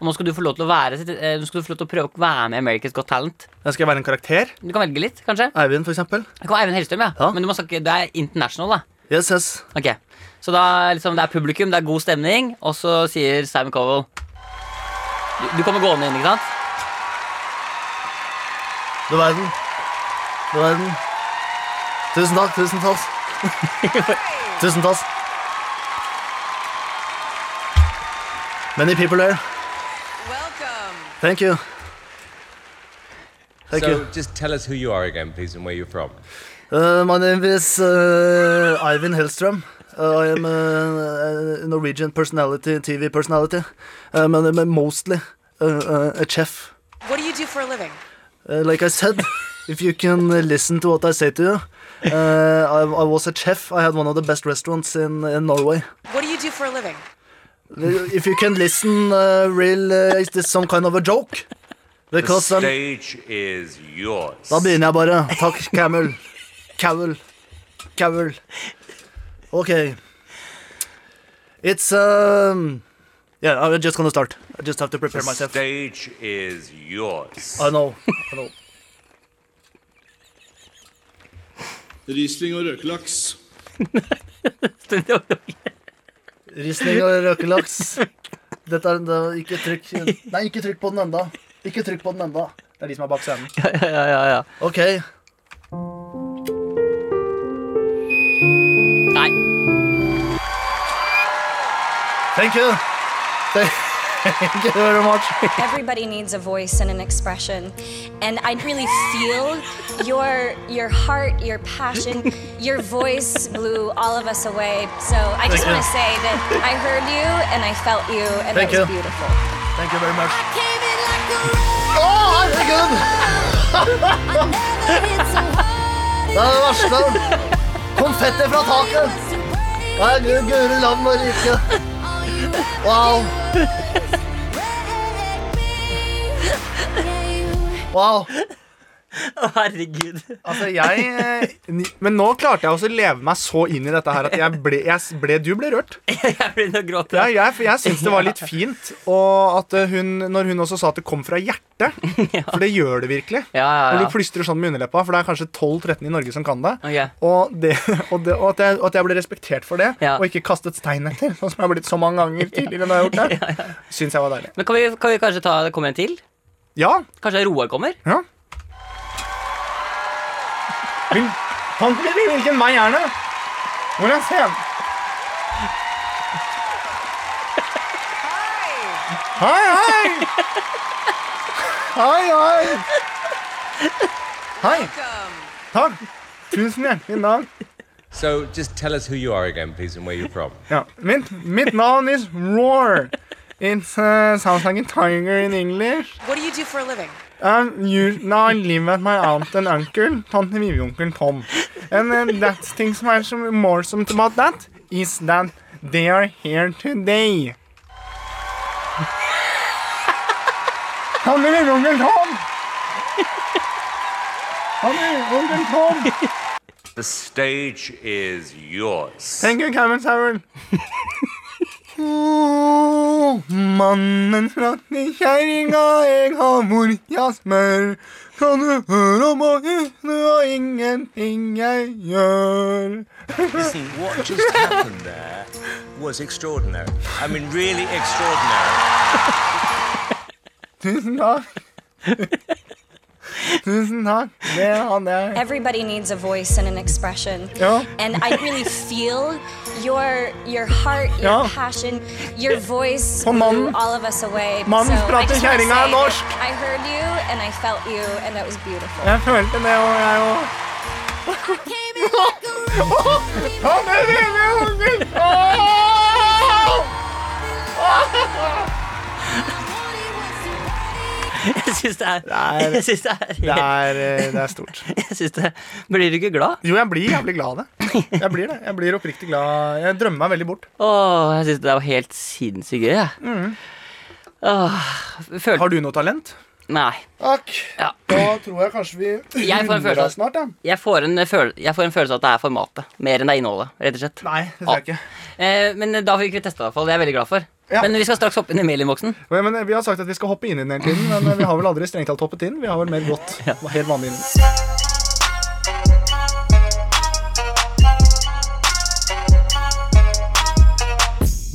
C: Og nå skal du få lov til å være eh, Nå skal du få lov til å prøve å være med i America's Got Talent.
B: Jeg skal være en karakter.
C: Du kan velge litt, kanskje.
B: Eivind, for eksempel.
C: Det kan være Eivind Hellstrøm, ja.
B: Ja.
C: Men du må snakke, det er international, da.
B: Yes, yes.
C: Ok, Så da liksom, det er publikum, det er god stemning, og så sier Simon Cowell du, du kommer gående inn, ikke sant?
B: Du verden. Du verden. Tusen takk, tusen takk. tusen takk. Many people there. Thank you. Thank
D: so just tell us who you are again, please, and where you're from.
B: Uh, my name is uh, Ivan Hellström. Uh, I am a, a Norwegian personality, TV personality. Um, and I'm mostly uh, uh, a chef.
E: What do you do for a living?
B: Uh, like I said, if you can uh, listen to what I say to you, uh, I, I was a chef. I had one of the best restaurants in, in Norway.
E: What do you do for a living?
B: If you can listen, uh, real, uh, is this some kind of a joke?
D: The
B: Because I'm,
D: stage is yours.
B: da begynner jeg bare. Takk, Camel. Cowell. Cowell. Ok. It's um, Yeah, I'm just gonna start. I just have to prepare
D: The
B: myself.
D: stage is yours.
B: I know. I know.
F: Riesling og røkelaks.
B: Risling og røkelaks. Dette er, det er ikke trykk Nei, ikke trykk på den enda. Ikke trykk på den enda. Det er de som er bak scenen.
C: Ja, ja, ja.
B: Ok.
C: Nei.
B: Thank you. Thank you very much.
G: Everybody needs a voice and an expression. And I really feel your your heart, your passion, your voice blew all of us away. So I just
B: Thank you.
G: want to say that I heard you and I felt you and
B: Thank
G: that was
B: you.
G: beautiful.
B: Thank you very much. Å, herregud! Det er det verste. Konfetti fra taket. Herregud, guri land og rike. Wow. Wow.
C: Å, herregud.
B: Altså, jeg eh, ni- Men nå klarte jeg også å leve meg så inn i dette her at jeg ble, jeg ble Du ble rørt.
C: Jeg begynner å gråte.
B: Ja, jeg for jeg syns det var litt fint. Og at eh, hun, når hun også sa at det kom fra hjertet. For det gjør det virkelig.
C: Ja, ja, ja.
B: Når du plystrer sånn med underleppa, for det er kanskje 12-13 i Norge som kan det.
C: Ok.
B: Og, det, og, det, og at, jeg, og at jeg ble respektert for det,
C: Ja.
B: og ikke kastet stein etter. Sånn som jeg har blitt så mange ganger tidligere når jeg har gjort det. Syns jeg var deilig.
C: Men kan vi, kan vi kanskje ta det kommer en til?
B: Ja.
C: Kanskje Roar kommer?
B: ja. Hvil, han, hvilken vei er det? Hvordan ser han? Hei, hei! Hei, hei! Hei, takk. Tusen hjertelig takk.
D: So just tell us who you are again, please, and where you're from.
B: Ja. Mitt, mitt navn is Roar. It uh, sounds like a tiger in English.
E: What do you do for a living?
B: Um, you, now I live at my aunt and uncle, tante Vivi onkel Tom. And then that things are some more something about that is that they are here today. tante Vivi onkel Tom! Tante Vivi onkel Tom!
D: The stage is yours.
B: Thank you, Cameron Sauron. Mannen fra kjerringa, jeg har morjasmør. Kan du høre om å hysne og ingenting jeg gjør?
D: Listen, what just happened there was extraordinary. I mean, really extraordinary.
B: Tusen takk. Tusen takk. Det hadde jeg.
G: Everybody needs a voice and an expression.
B: Ja.
G: And I really feel your your heart, your
B: Ja.
G: passion, your voice
B: For
G: blew
B: mannen-
G: all of us away.
B: mannen
G: so I
B: prater
G: just wanna
B: kjerringa
G: say
B: norsk.
G: that I heard you and I felt you and that was beautiful.
B: Jeg følte det òg, jeg òg. Han er lille ungen!
C: Jeg syns det er
B: Nei.
C: Jeg syns det er
B: Det er, eh, det er stort.
C: Jeg syns det Blir du ikke glad?
B: Jo, jeg blir jævlig glad av det. Jeg blir det. Jeg blir oppriktig glad. Jeg drømmer meg veldig bort.
C: Åh, jeg syns det var helt sinnssykt gøy, jeg. Åh, følte
B: Har du noe talent?
C: Nei.
B: Takk.
C: Ja.
B: Da tror jeg kanskje vi
C: Jeg får en følelse av-
B: snart, ja.
C: Jeg får, en føl jeg får en følelse av at det er formatet, mer enn det er innholdet. rett og slett
B: Nei, det tror jeg ikke.
C: eh, Men da fikk vi testa det, i hvert fall. Det er jeg veldig glad for.
B: Ja.
C: Men vi skal straks hoppe inn i mailinnboksen.
B: Men, men Vi har sagt at vi skal hoppe inn i den hele tiden, men eh, vi har vel aldri strengt talt hoppet inn. Vi har vel mer gått helt vanlig inn.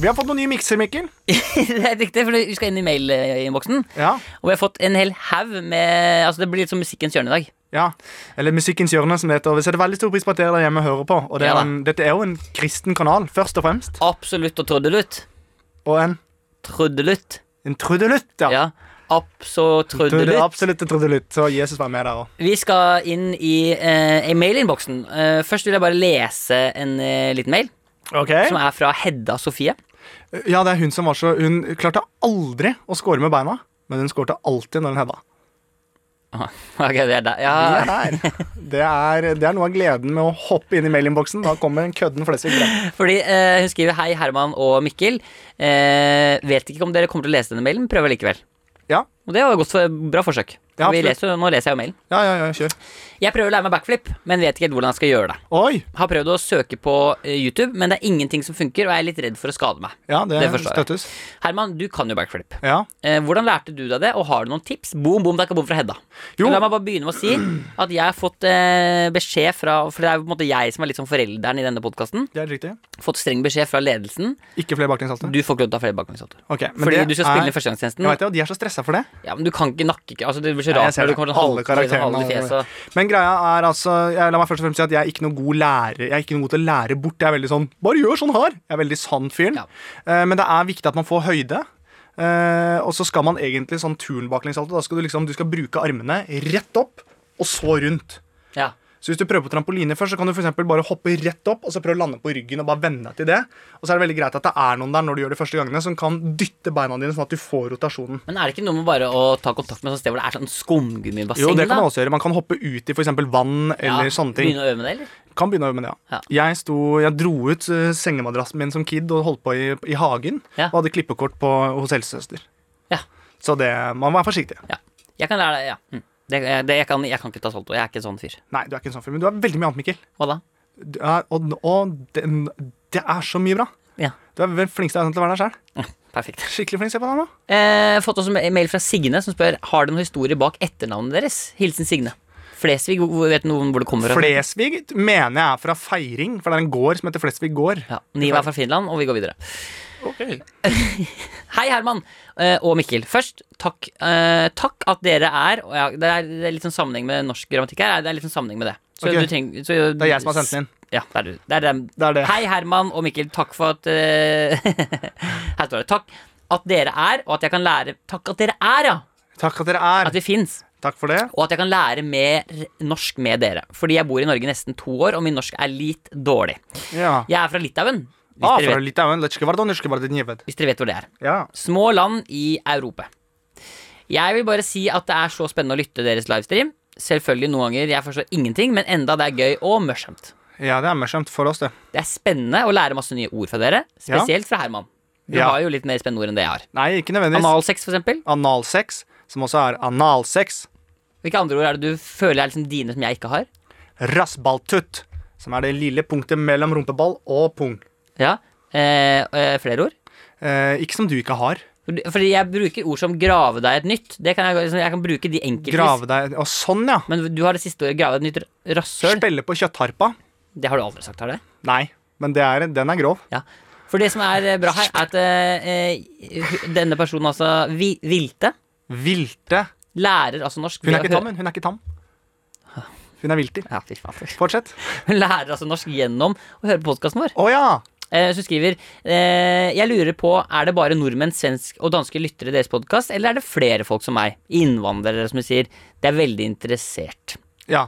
B: Vi har fått noen nye mikser, Mikkel.
C: det er riktig, for vi skal inn i mailinnboksen.
B: Ja,
C: Og vi har fått en hel haug med Altså, det blir litt som Musikkens hjørne i dag.
B: ja. Eller Musikkens hjørne, som det heter. Vi setter veldig stor pris på at dere der hjemme hører på. Og det
C: Ja
B: er
C: da.
B: en, dette er jo en kristen kanal, først og fremst.
C: Absolutt og trudelutt.
B: Og en,
C: Trudelutt.
B: en trudelutt, ja.
C: Ja. Abso
B: Trude,
C: trudelutt.
B: absolutt en trudelutt. Så Jesus var med der òg.
C: Vi skal inn i eh, i mailinnboksen. Eh, først vil jeg bare lese en eh, liten mail, som er fra Hedda Sofie.
B: Ja, det er hun som var så Hun klarte aldri å score med beina, men hun skårte alltid når hun hedda.
C: Ok, det er der. Ja.
B: Det er, det er noe av gleden med å hoppe inn i mailinnboksen. Da kommer en kødden flesvig frem.
C: Fordi eh, hun skriver Hei, Herman og Mikkel. Eh, vet ikke om dere kommer til å lese denne mailen, men prøver likevel.
B: Ja.
C: Og det var jo godt for, bra forsøk.
B: Ja,
C: vi
B: absolutt.
C: leser, jo- nå leser jeg jo mailen.
B: Ja, ja, ja, kjør.
C: Jeg prøver å lære meg backflip, men vet ikke helt hvordan jeg skal gjøre det.
B: Oi!
C: Har prøvd å søke på eh, YouTube, men det er ingenting som funker, og jeg er litt redd for å skade meg.
B: Ja, det,
C: Det forstår jeg.
B: støttes.
C: Herman, du kan jo backflip.
B: Ja.
C: Eh, hvordan lærte du deg det, og har du noen tips? Boom, boom, takka, boom fra Hedda.
B: Jo.
C: La meg bare begynne med å si at jeg har fått eh, beskjed fra For det er jo på en måte jeg som er litt som forelderen i denne podkasten.
B: Det er helt riktig.
C: Fått streng beskjed fra ledelsen.
B: Ikke flere baklengshalte.
C: Du får ikke lov til å ta flere bakgangssalter.
B: Ok, men
C: Fordi
B: det
C: du skal
B: er-
C: spille førstegangstjenesten.
B: Jeg vet det, og De er så stressa for det.
C: Ja, men du kan ikke nakke ikke. Altså, det blir så
B: Nei, jeg
C: rart
B: ser
C: når du
B: det.
C: kommer sånn
B: Alle
C: halvt- sånn halv i
B: karakterene.
C: fjeset. og-
B: Men greia er altså jeg, La meg først og fremst si at jeg er ikke noe god lærer Jeg er ikke noe god til å lære bort. Jeg er veldig sånn Bare gjør sånn her! Jeg er veldig sann fyren.
C: Ja.
B: Eh, men det er viktig at man får høyde. Eh, og så skal man egentlig sånn turnbaklengsalto. Da skal du liksom Du skal bruke armene rett opp, og så rundt.
C: Ja.
B: Så hvis du prøver på trampoline først, så kan du for eksempel bare hoppe rett opp og så prøve å lande på ryggen og bare vende deg til det. Og så er det veldig greit at det er noen der når du gjør det første gangene, som kan dytte beina dine sånn at du får rotasjonen.
C: Men er det ikke noe med bare å ta kontakt med et sted hvor det er sånn skumgummibasseng?
B: Jo, det kan
C: da?
B: man også gjøre. Man kan hoppe ut i f.eks. vann eller
C: Ja,
B: sånne ting.
C: Begynne å øve med det, eller?
B: Kan begynne å øve med det, ja. Jeg, sto, jeg dro ut eh, sengemadrassen min som kid og holdt på i, i hagen.
C: Ja.
B: Og hadde klippekort på, hos helsesøster.
C: Ja.
B: Så det, man må være forsiktig.
C: ja. Jeg kan lære deg ja. Mm. det. det jeg, kan, jeg kan ikke ta salto. Jeg er ikke en sånn fyr.
B: Nei, du er ikke en sånn fyr, men du er veldig mye annet, Mikkel.
C: Hva da?
B: Du er, og og det, det er så mye bra.
C: Ja.
B: Du er vel flinkest til å være der sjøl.
C: Perfekt.
B: Skikkelig flink. Se på deg nå.
C: Eh, fått også en mail fra Signe som spør Har dere noen historie bak etternavnet deres. Hilsen Signe. Flesvig, hvor- hvor- vet noen hvor det kommer fra?
B: Flesvig mener jeg er fra Feiring, for det er en gård som heter Flesvig gård.
C: Ja, Niva er fra Finland, og vi går videre. Hei, Herman eh, og Mikkel. Først, takk, eh, takk at dere er og ja, det, er det er litt sånn sammenheng med norsk grammatikk her. Det er litt sånn sammenheng med det. Så
B: Ok.
C: du trenger, så,
B: Det er jeg som har sendt den inn.
C: Ja, det er du. Det er dem.
B: Det er det.
C: Hei, Herman og Mikkel. Takk for at eh, Her står det. Takk at dere er, og at jeg kan lære Takk at dere er, ja!
B: Takk at dere
C: At
B: er.
C: vi fins.
B: Takk for det.
C: Og at jeg kan lære mer norsk med dere. Fordi jeg bor i Norge nesten to år, og min norsk er litt dårlig.
B: Ja.
C: Jeg er fra Litauen, hvis,
B: Ah,
C: dere,
B: fra
C: vet,
B: Litauen. Lechke var det, norske var det, den jeved.
C: hvis dere vet hvor det er.
B: Ja.
C: Små land i Europa. Jeg vil bare si at det er så spennende å lytte deres livestream. Selvfølgelig noen ganger jeg forstår ingenting, men enda det er gøy og morsomt.
B: ja, det er morsomt for oss, det.
C: Det er spennende å lære masse nye ord fra dere, spesielt fra Herman. Du
B: Ja.
C: har jo litt mer spennende ord enn det jeg har.
B: Nei, ikke nødvendigvis.
C: Analsex, for eksempel.
B: Analsex, som også er analsex.
C: Hvilke andre ord er det du føler er liksom dine som jeg ikke har?
B: Rassballtutt, som er det lille punktet mellom rumpeball og pung.
C: Ja, eh, eh, Flere ord?
B: Eh, ikke som du ikke har.
C: Fordi fordi jeg bruker ord som grave deg et nytt. Det kan jeg, altså, jeg kan bruke de enkeltvis.
B: Grave deg Og sånn, ja.
C: Men du har det siste ordet. Grave et nytt rasshøl.
B: Spille på kjøttharpa.
C: Det har du aldri sagt, har du?
B: Nei, men det er, den er grov.
C: Ja. For det som er eh, bra her, er at eh, eh, denne personen altså vi, Vilte
B: Vilte.
C: lærer altså norsk
B: Hun
C: ved
B: er
C: å
B: ikke tam,
C: høre-
B: hun. Hun er ikke tam. Hun er vilter.
C: Ja, fy faen.
B: Fortsett.
C: Hun lærer altså norsk gjennom å høre på podkasten vår.
B: Å ja!
C: Eh, som skriver eh, Jeg lurer på, er det bare nordmenn, svensk og danske lyttere i deres podkast, eller er det flere folk som meg? Innvandrere, som de sier. Det er veldig interessert.
B: Ja.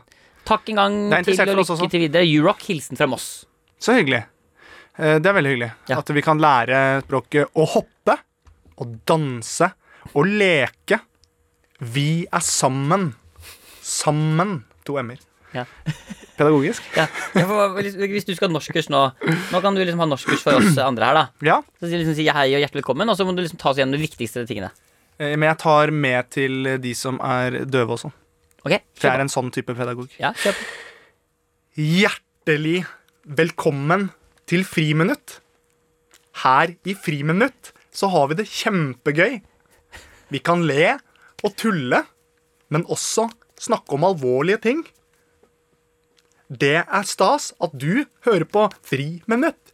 C: Takk en gang
B: Det er
C: til,
B: interessert
C: og
B: for oss
C: lykke
B: også.
C: til videre. Urock, hilsen fra Moss.
B: Så hyggelig. Eh, Det er veldig hyggelig
C: Ja.
B: at vi kan lære språket å hoppe og danse og leke. Vi er sammen. Sammen. To m-er.
C: Ja.
B: Pedagogisk.
C: Ja. Ja, for Hvis hvis du skal ha norskkurs nå, nå kan du liksom ha norskkurs for oss andre her, da.
B: Ja.
C: Så sier liksom si hei og hjertelig velkommen, og så må du liksom ta oss gjennom de viktigste tingene.
B: Eh, Men jeg tar med til de som er døve også.
C: Ok? Kjør
B: For
C: på.
B: jeg er en sånn type pedagog.
C: Ja, kjør på.
B: Hjertelig velkommen til Friminutt. Her i Friminutt så har vi det kjempegøy. Vi kan le og tulle, men også snakke om alvorlige ting. Det er stas at du hører på Friminutt.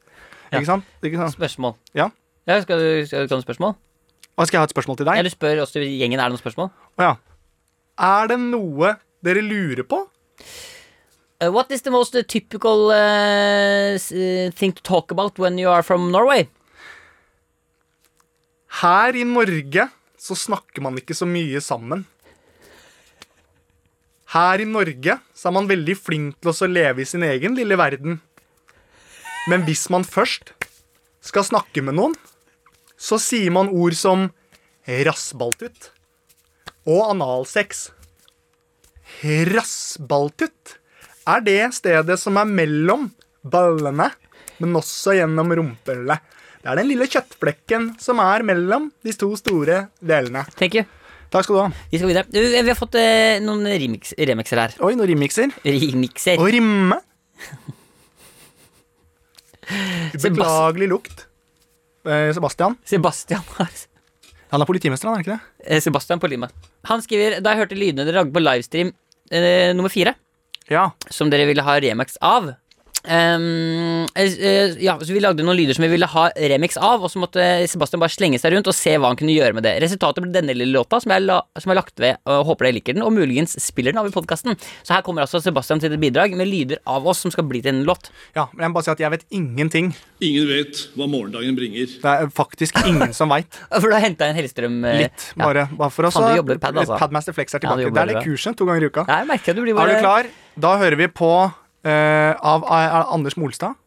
C: Ja.
B: Ikke sant? Ikke sant?
C: Spørsmål.
B: Ja.
C: Ja, skal du, skal du ha noen spørsmål?
B: Og skal jeg ha et spørsmål til deg?
C: Eller spør også gjengen, er det noen spørsmål?
B: Å Ja. Er det noe dere lurer på?
C: Uh, what is the most uh, typical uh, s- uh, thing to talk about when you are from Norway?
B: Her i Norge så snakker man ikke så mye sammen. Her i Norge så er man veldig flink til også å leve i sin egen lille verden. Men hvis man først skal snakke med noen, så sier man ord som rassbaltut og analsex. Rassbaltut er det stedet som er mellom ballene, men også gjennom rumpehullet. Det er den lille kjøttflekken som er mellom de to store delene.
C: Thank you.
B: Takk skal du ha.
C: Vi skal videre. Du, eh, vi har fått eh, noen remix remixer her.
B: Oi, noen rimmikser.
C: Remixer.
B: Og rimme. Beklagelig lukt. Eh, Sebastian.
C: Sebastian har
B: Han er politimester, han er ikke det?
C: Eh, Sebastian på Lima. Han skriver Da jeg hørte lydene dere lagde på livestream eh, nummer fire,
B: Ja.
C: som dere ville ha remix av ehm, eh, eh, ja, så Vi lagde noen lyder som vi ville ha remix av, og så måtte Sebastian bare slenge seg rundt og se hva han kunne gjøre med det. Resultatet ble denne lille låta, som jeg, la, som jeg har lagt ved. Og håper dere liker den, og muligens spiller den av i podkasten. Så her kommer altså Sebastian til et bidrag med lyder av oss som skal bli til en låt.
B: ja. Men jeg må bare si at jeg vet ingenting.
F: Ingen vet hva morgendagen bringer.
B: Det er faktisk ingen som veit.
C: For du har henta en Hellstrøm eh,
B: Litt, bare. bare for oss.
C: Faen, du jobber i pad, altså.
B: Padmaster Flex er
C: Ja, du
B: tilbake. det
C: jobber
B: er det
C: bra.
B: kurset to ganger i uka.
C: Ja. Jeg merker at du blir
B: Er
C: bare
B: du klar? Da hører vi på eh, av er det Anders Molstad.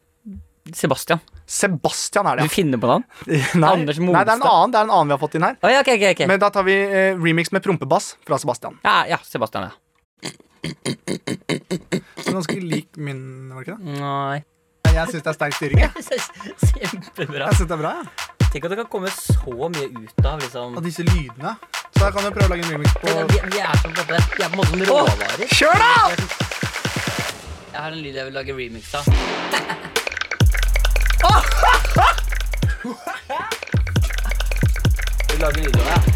C: Sebastian.
B: Sebastian er det.
C: Du finner på navn?
B: Nei,
C: Anders
B: Nei, det er en
C: Molstad.
B: annen, det er en annen vi har fått inn her.
C: Å ja, ok, ok. ok.
B: Men da tar vi eh, remix med prompebass fra Sebastian.
C: ja, ja, Sebastian, ja.
B: Ganske lik min, var det ikke det? Mm.
C: Nei.
B: Jeg syns det er sterk styring. Jeg,
C: Kjempebra.
B: jeg synes det er bra, jeg.
C: Tenk at det kan komme så mye ut av liksom
B: Og disse lydene. Så jeg kan jo prøve å lage en remix
C: vi,
B: på
C: vi er som på en måte Vi er på en måte som råvarer.
B: Kjør, da!
C: Jeg har en lyd jeg vil lage remix av. Vil du lage en lyd av det?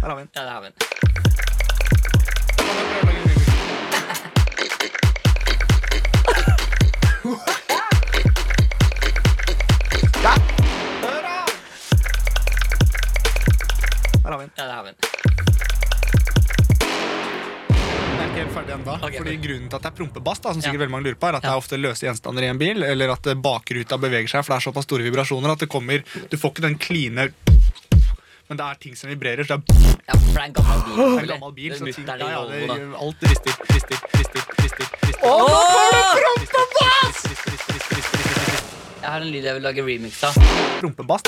B: Der har vi den.
C: Ja, det har vi den.
B: Der har vi den.
C: Ja, det har vi den.
B: Den er ikke helt ferdig ennå.
C: Ok,
B: Fordi
C: ok.
B: grunnen til at det er prompebass, da, som sikkert
C: Ja.
B: veldig mange lurer på, er at det er ofte løse gjenstander i en bil, eller at eh, bakruta beveger seg, for det er såpass store vibrasjoner at det kommer Du får ikke den kline Men det er ting som vibrerer, så det er
C: Ja, for det er en gammel bil. selvfølgelig. Det
B: en gammel bil. Så ting,
C: mutter
B: ja,
C: den i
B: ja, det,
C: Volvo, da.
B: alt rister, rister, rister, rister. rister.
C: Jeg har en lyd jeg vil lage remix av.
B: Rumpebass.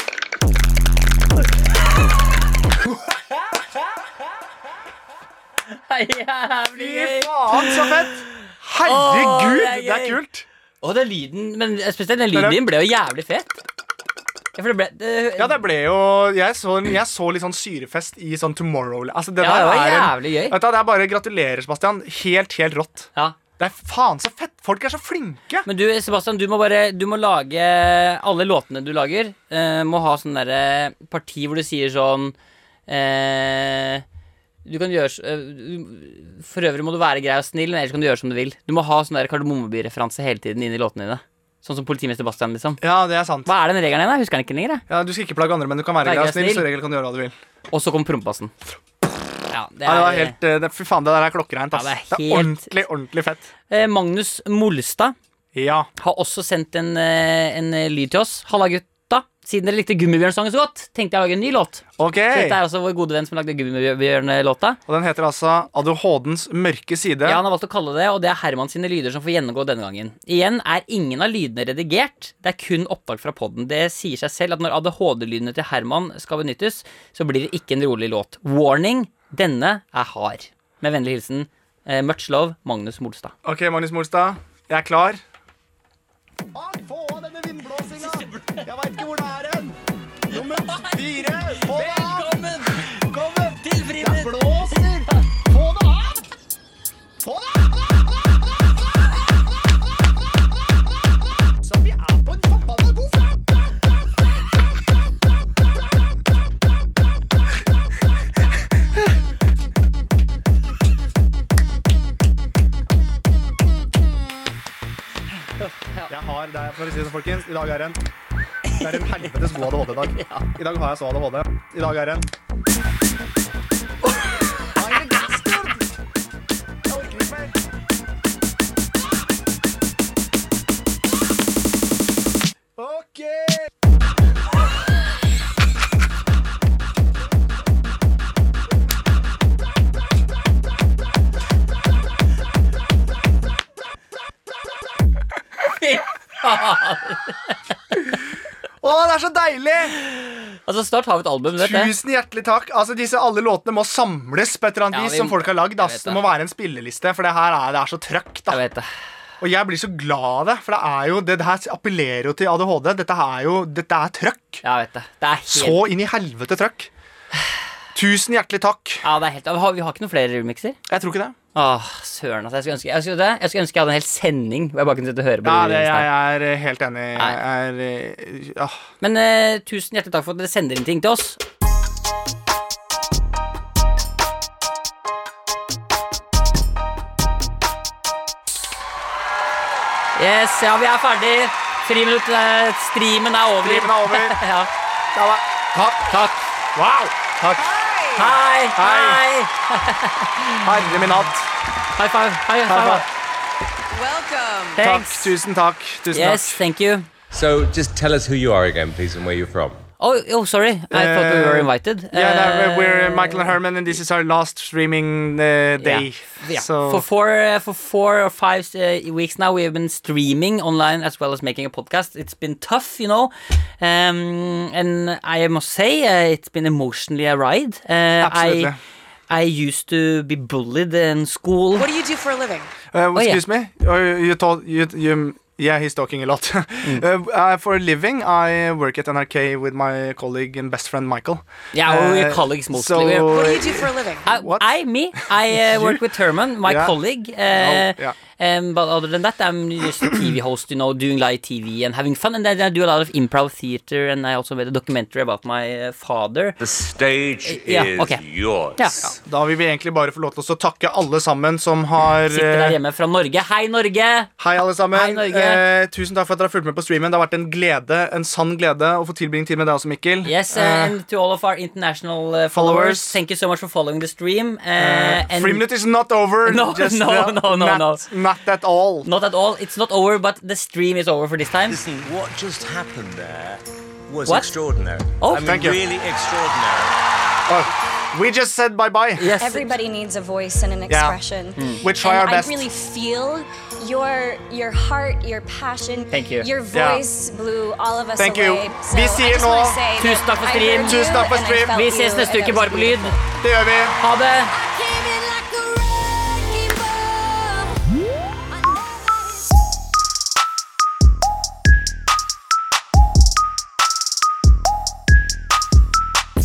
C: Jævlig
B: Fy
C: gøy!
B: faen, så fett!
C: Åh,
B: Herregud,
C: det er
B: det er
C: gøy.
B: kult.
C: Og den lyden, men spesielt den lyden din ble jo jævlig fet. Ja, for det ble det,
B: Ja, det ble jo Jeg så, jeg så litt sånn syrefest i sånn Tomorrow. Altså, det
C: Ja,
B: der
C: det var
B: er en-
C: jævlig gøy.
B: Vet du, hva, det er bare gratulerer, Sebastian. Helt, helt rått.
C: Ja.
B: Det er faen så fett. Folk er så flinke.
C: Men du, Sebastian, du må bare Du må lage Alle låtene du lager, eh, må ha sånn derre parti hvor du sier sånn eh, Du kan gjøre s- eh, du- For øvrig må du være grei og snill, men ellers kan du gjøre som du vil. Du må ha sånn der Kardemommeby-referanse hele tiden inn i låtene dine. Sånn som politimester Bastian, liksom.
B: Ja, det er sant.
C: Hva er den regelen igjen? da? Jeg Husker den ikke lenger. jeg.
B: Ja, du skal ikke plage andre, men du kan være
C: Vær
B: grei og
C: grei,
B: snill.
C: snill.
B: Så regel kan du gjøre hva du vil.
C: Og så kom prompebassen. Ja, det
B: Ja,
C: er,
B: det var helt, eh, det, fy faen, det der er klokkereint. Ass.
C: Ja,
B: det,
C: det
B: er
C: er helt-
B: ordentlig, ordentlig fett.
C: eh, Magnus Molstad
B: Ja.
C: har også sendt en, eh, en eh, lyd til oss. Halla, gutta. Siden dere likte Gummibjørn-sangen så godt, tenkte jeg å lage en ny låt. Så
B: OK.
C: Dette er altså vår gode venn som lagde Gummibjørn-låta.
B: Og den heter altså ADHD-ens mørke side.
C: Ja, han har valgt å kalle det, og det er Herman sine lyder som får gjennomgå denne gangen. Igjen er ingen av lydene redigert, det er kun opptak fra podden. Det sier seg selv at når ADHD-lydene til Herman skal benyttes, så blir det ikke en rolig låt. Warning, denne er hard. Med vennlig hilsen eh, much love, Magnus Molstad.
B: OK, Magnus Molstad. Jeg er klar. Jeg har, det er, for å si det sånn, folkens, I dag er en Det er en helvetes god ADHD-dag. I dag har jeg så ADHD. I dag er en Ok! Å, det er så deilig!
C: Altså, snart har vi et album, vet du.
B: Tusen hjertelig takk. Altså, disse Alle låtene må samles på et eller annet
C: Ja,
B: vis
C: vi-
B: som folk har lagd.
C: Jeg
B: ass.
C: vet
B: Det
C: det.
B: må være en spilleliste, for det her er, det er så trøkk. da
C: Jeg vet det.
B: Og jeg blir så glad av det, for det er jo Det, det her appellerer jo til ADHD. Dette er jo Dette er trøkk.
C: Jeg vet det. Det er helt,
B: Så inn i helvete trøkk. Tusen hjertelig takk.
C: ja, det er helt har, Vi har ikke noen flere remixer.
B: Jeg tror ikke det.
C: Åh, søren, altså. Jeg skulle ønske jeg, skulle, jeg, skulle ønske jeg hadde en hel sending hvor jeg bare kunne sitte og høre på de
B: Ja, det,
C: remixene.
B: jeg er eh, helt enig. Jeg er eh, ah.
C: Men eh, tusen hjertelig takk for at dere sender inn ting til oss. Yes, ja, vi er ferdig. Friminutt, eh, streamen er over.
B: Streamen er over.
C: ja.
B: Takk.
C: Takk.
B: Wow! Takk.
C: Hei, hei.
B: Herre min hatt.
C: High five. High
B: High
C: five.
E: Welcome.
B: Takk.
C: Thanks.
B: Tusen takk. Tusen
C: Yes,
B: takk.
C: thank you.
D: So just tell us who you are again, please, and where you're from.
C: Oh, oh sorry. I thought we were
B: Eh,
C: invited.
B: Yeah, no,
C: Eh,
B: we're Michael and Herman, and this is our last streaming uh, day.
C: Yeah.
B: So
C: For four uh, for four or five uh, weeks now, we have been streaming online as well as making a podcast. It's been tough, you know, um, and I must say uh, it's been emotionally a ride. Uh,
B: Absolutely.
C: I, I used to be bullied in school.
E: What do you do for a living?
B: Uh,
C: yeah.
B: excuse me. Uh, you told you, you yeah, he's talking a lot.
C: Mm.
B: Uh, uh, for a living, I work at NRK with my colleague and best friend Michael.
C: Yeah, well, we're
B: Uh,
C: colleagues mostly.
B: so-
C: We're-
E: What do you do for a living?
C: I,
B: What?
C: I me, I uh, work with Herman, my
B: Yeah.
C: colleague. Uh,
B: yeah.
C: um, but other than that, I'm just a TV host, you know, doing live TV and having fun. And then I do a lot of improv theater, and I also made a documentary about my uh, father.
D: The stage
C: Uh, Yeah,
D: is
C: okay.
D: yours.
C: Yeah.
B: Da vil vi egentlig bare få lov til å takke alle sammen som har
C: Sitter der
B: eh,
C: hjemme fra Norge. Hei, Norge!
B: Hei, alle sammen.
C: Hei, Norge.
B: Eh, tusen takk for at dere har fulgt med på streamen. Det har vært en glede, en sann glede å få tilbringe tid med deg også, Mikkel.
C: Yes, uh,
B: Eh,
C: and to all of our international uh, followers,
B: Followers.
C: thank you so much for following the stream. Uh, and
B: Eh, Free minute is not over.
C: No,
B: Just,
C: no,
B: uh,
C: no, no,
B: not,
C: no.
B: Not at all.
C: not at all. It's not over, but the stream is over for this time.
D: What just happened there was
C: What?
D: extraordinary.
C: Oh,
D: I mean,
B: Thank you. Oh,
D: really extraordinary.
B: We just said bye-bye.
C: Yes.
G: Everybody needs a voice and an expression.
B: Hmm. We try
G: and
B: our best.
G: I really feel your your heart, your passion,
C: Thank you.
G: your
B: Yeah.
G: voice blew all of us
B: Thank you.
G: away. So
B: Vi
G: I
B: sier
G: just
B: nå,
G: wanna say that
C: tusen takk for
G: I
C: stream.
G: heard
B: Tusen
G: you,
B: takk for
G: and I
B: stream.
G: felt
C: Vi
G: you,
C: ses neste
G: and
C: uke
G: it
C: bare
G: was
C: på lyd.
B: Det gjør vi.
C: Ha det.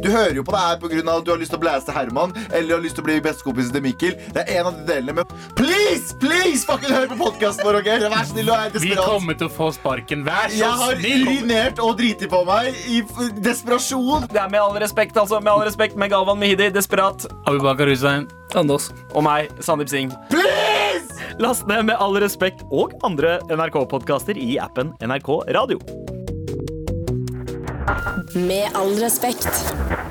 H: Du hører jo på det her pga. at du har lyst til å blæse Herman eller har lyst til å bli bestekompisen til Mikkel. Det er en av de delene, men please, please, fucking hør på podkasten vår, OK? Vær snill og er
I: Vi
H: desperat.
I: kommer til å få sparken. Vær så
H: Jeg har
I: snill!
H: urinert og driti på meg i f- desperasjon.
D: Det er med all respekt, altså. Med all respekt med Galvan Mehidi, Desperat,
I: Abubakar Hussein.
D: og meg, Sandeep Singh. Please! Last ned Med all respekt og andre NRK-podkaster i appen NRK Radio.
J: Med all respekt.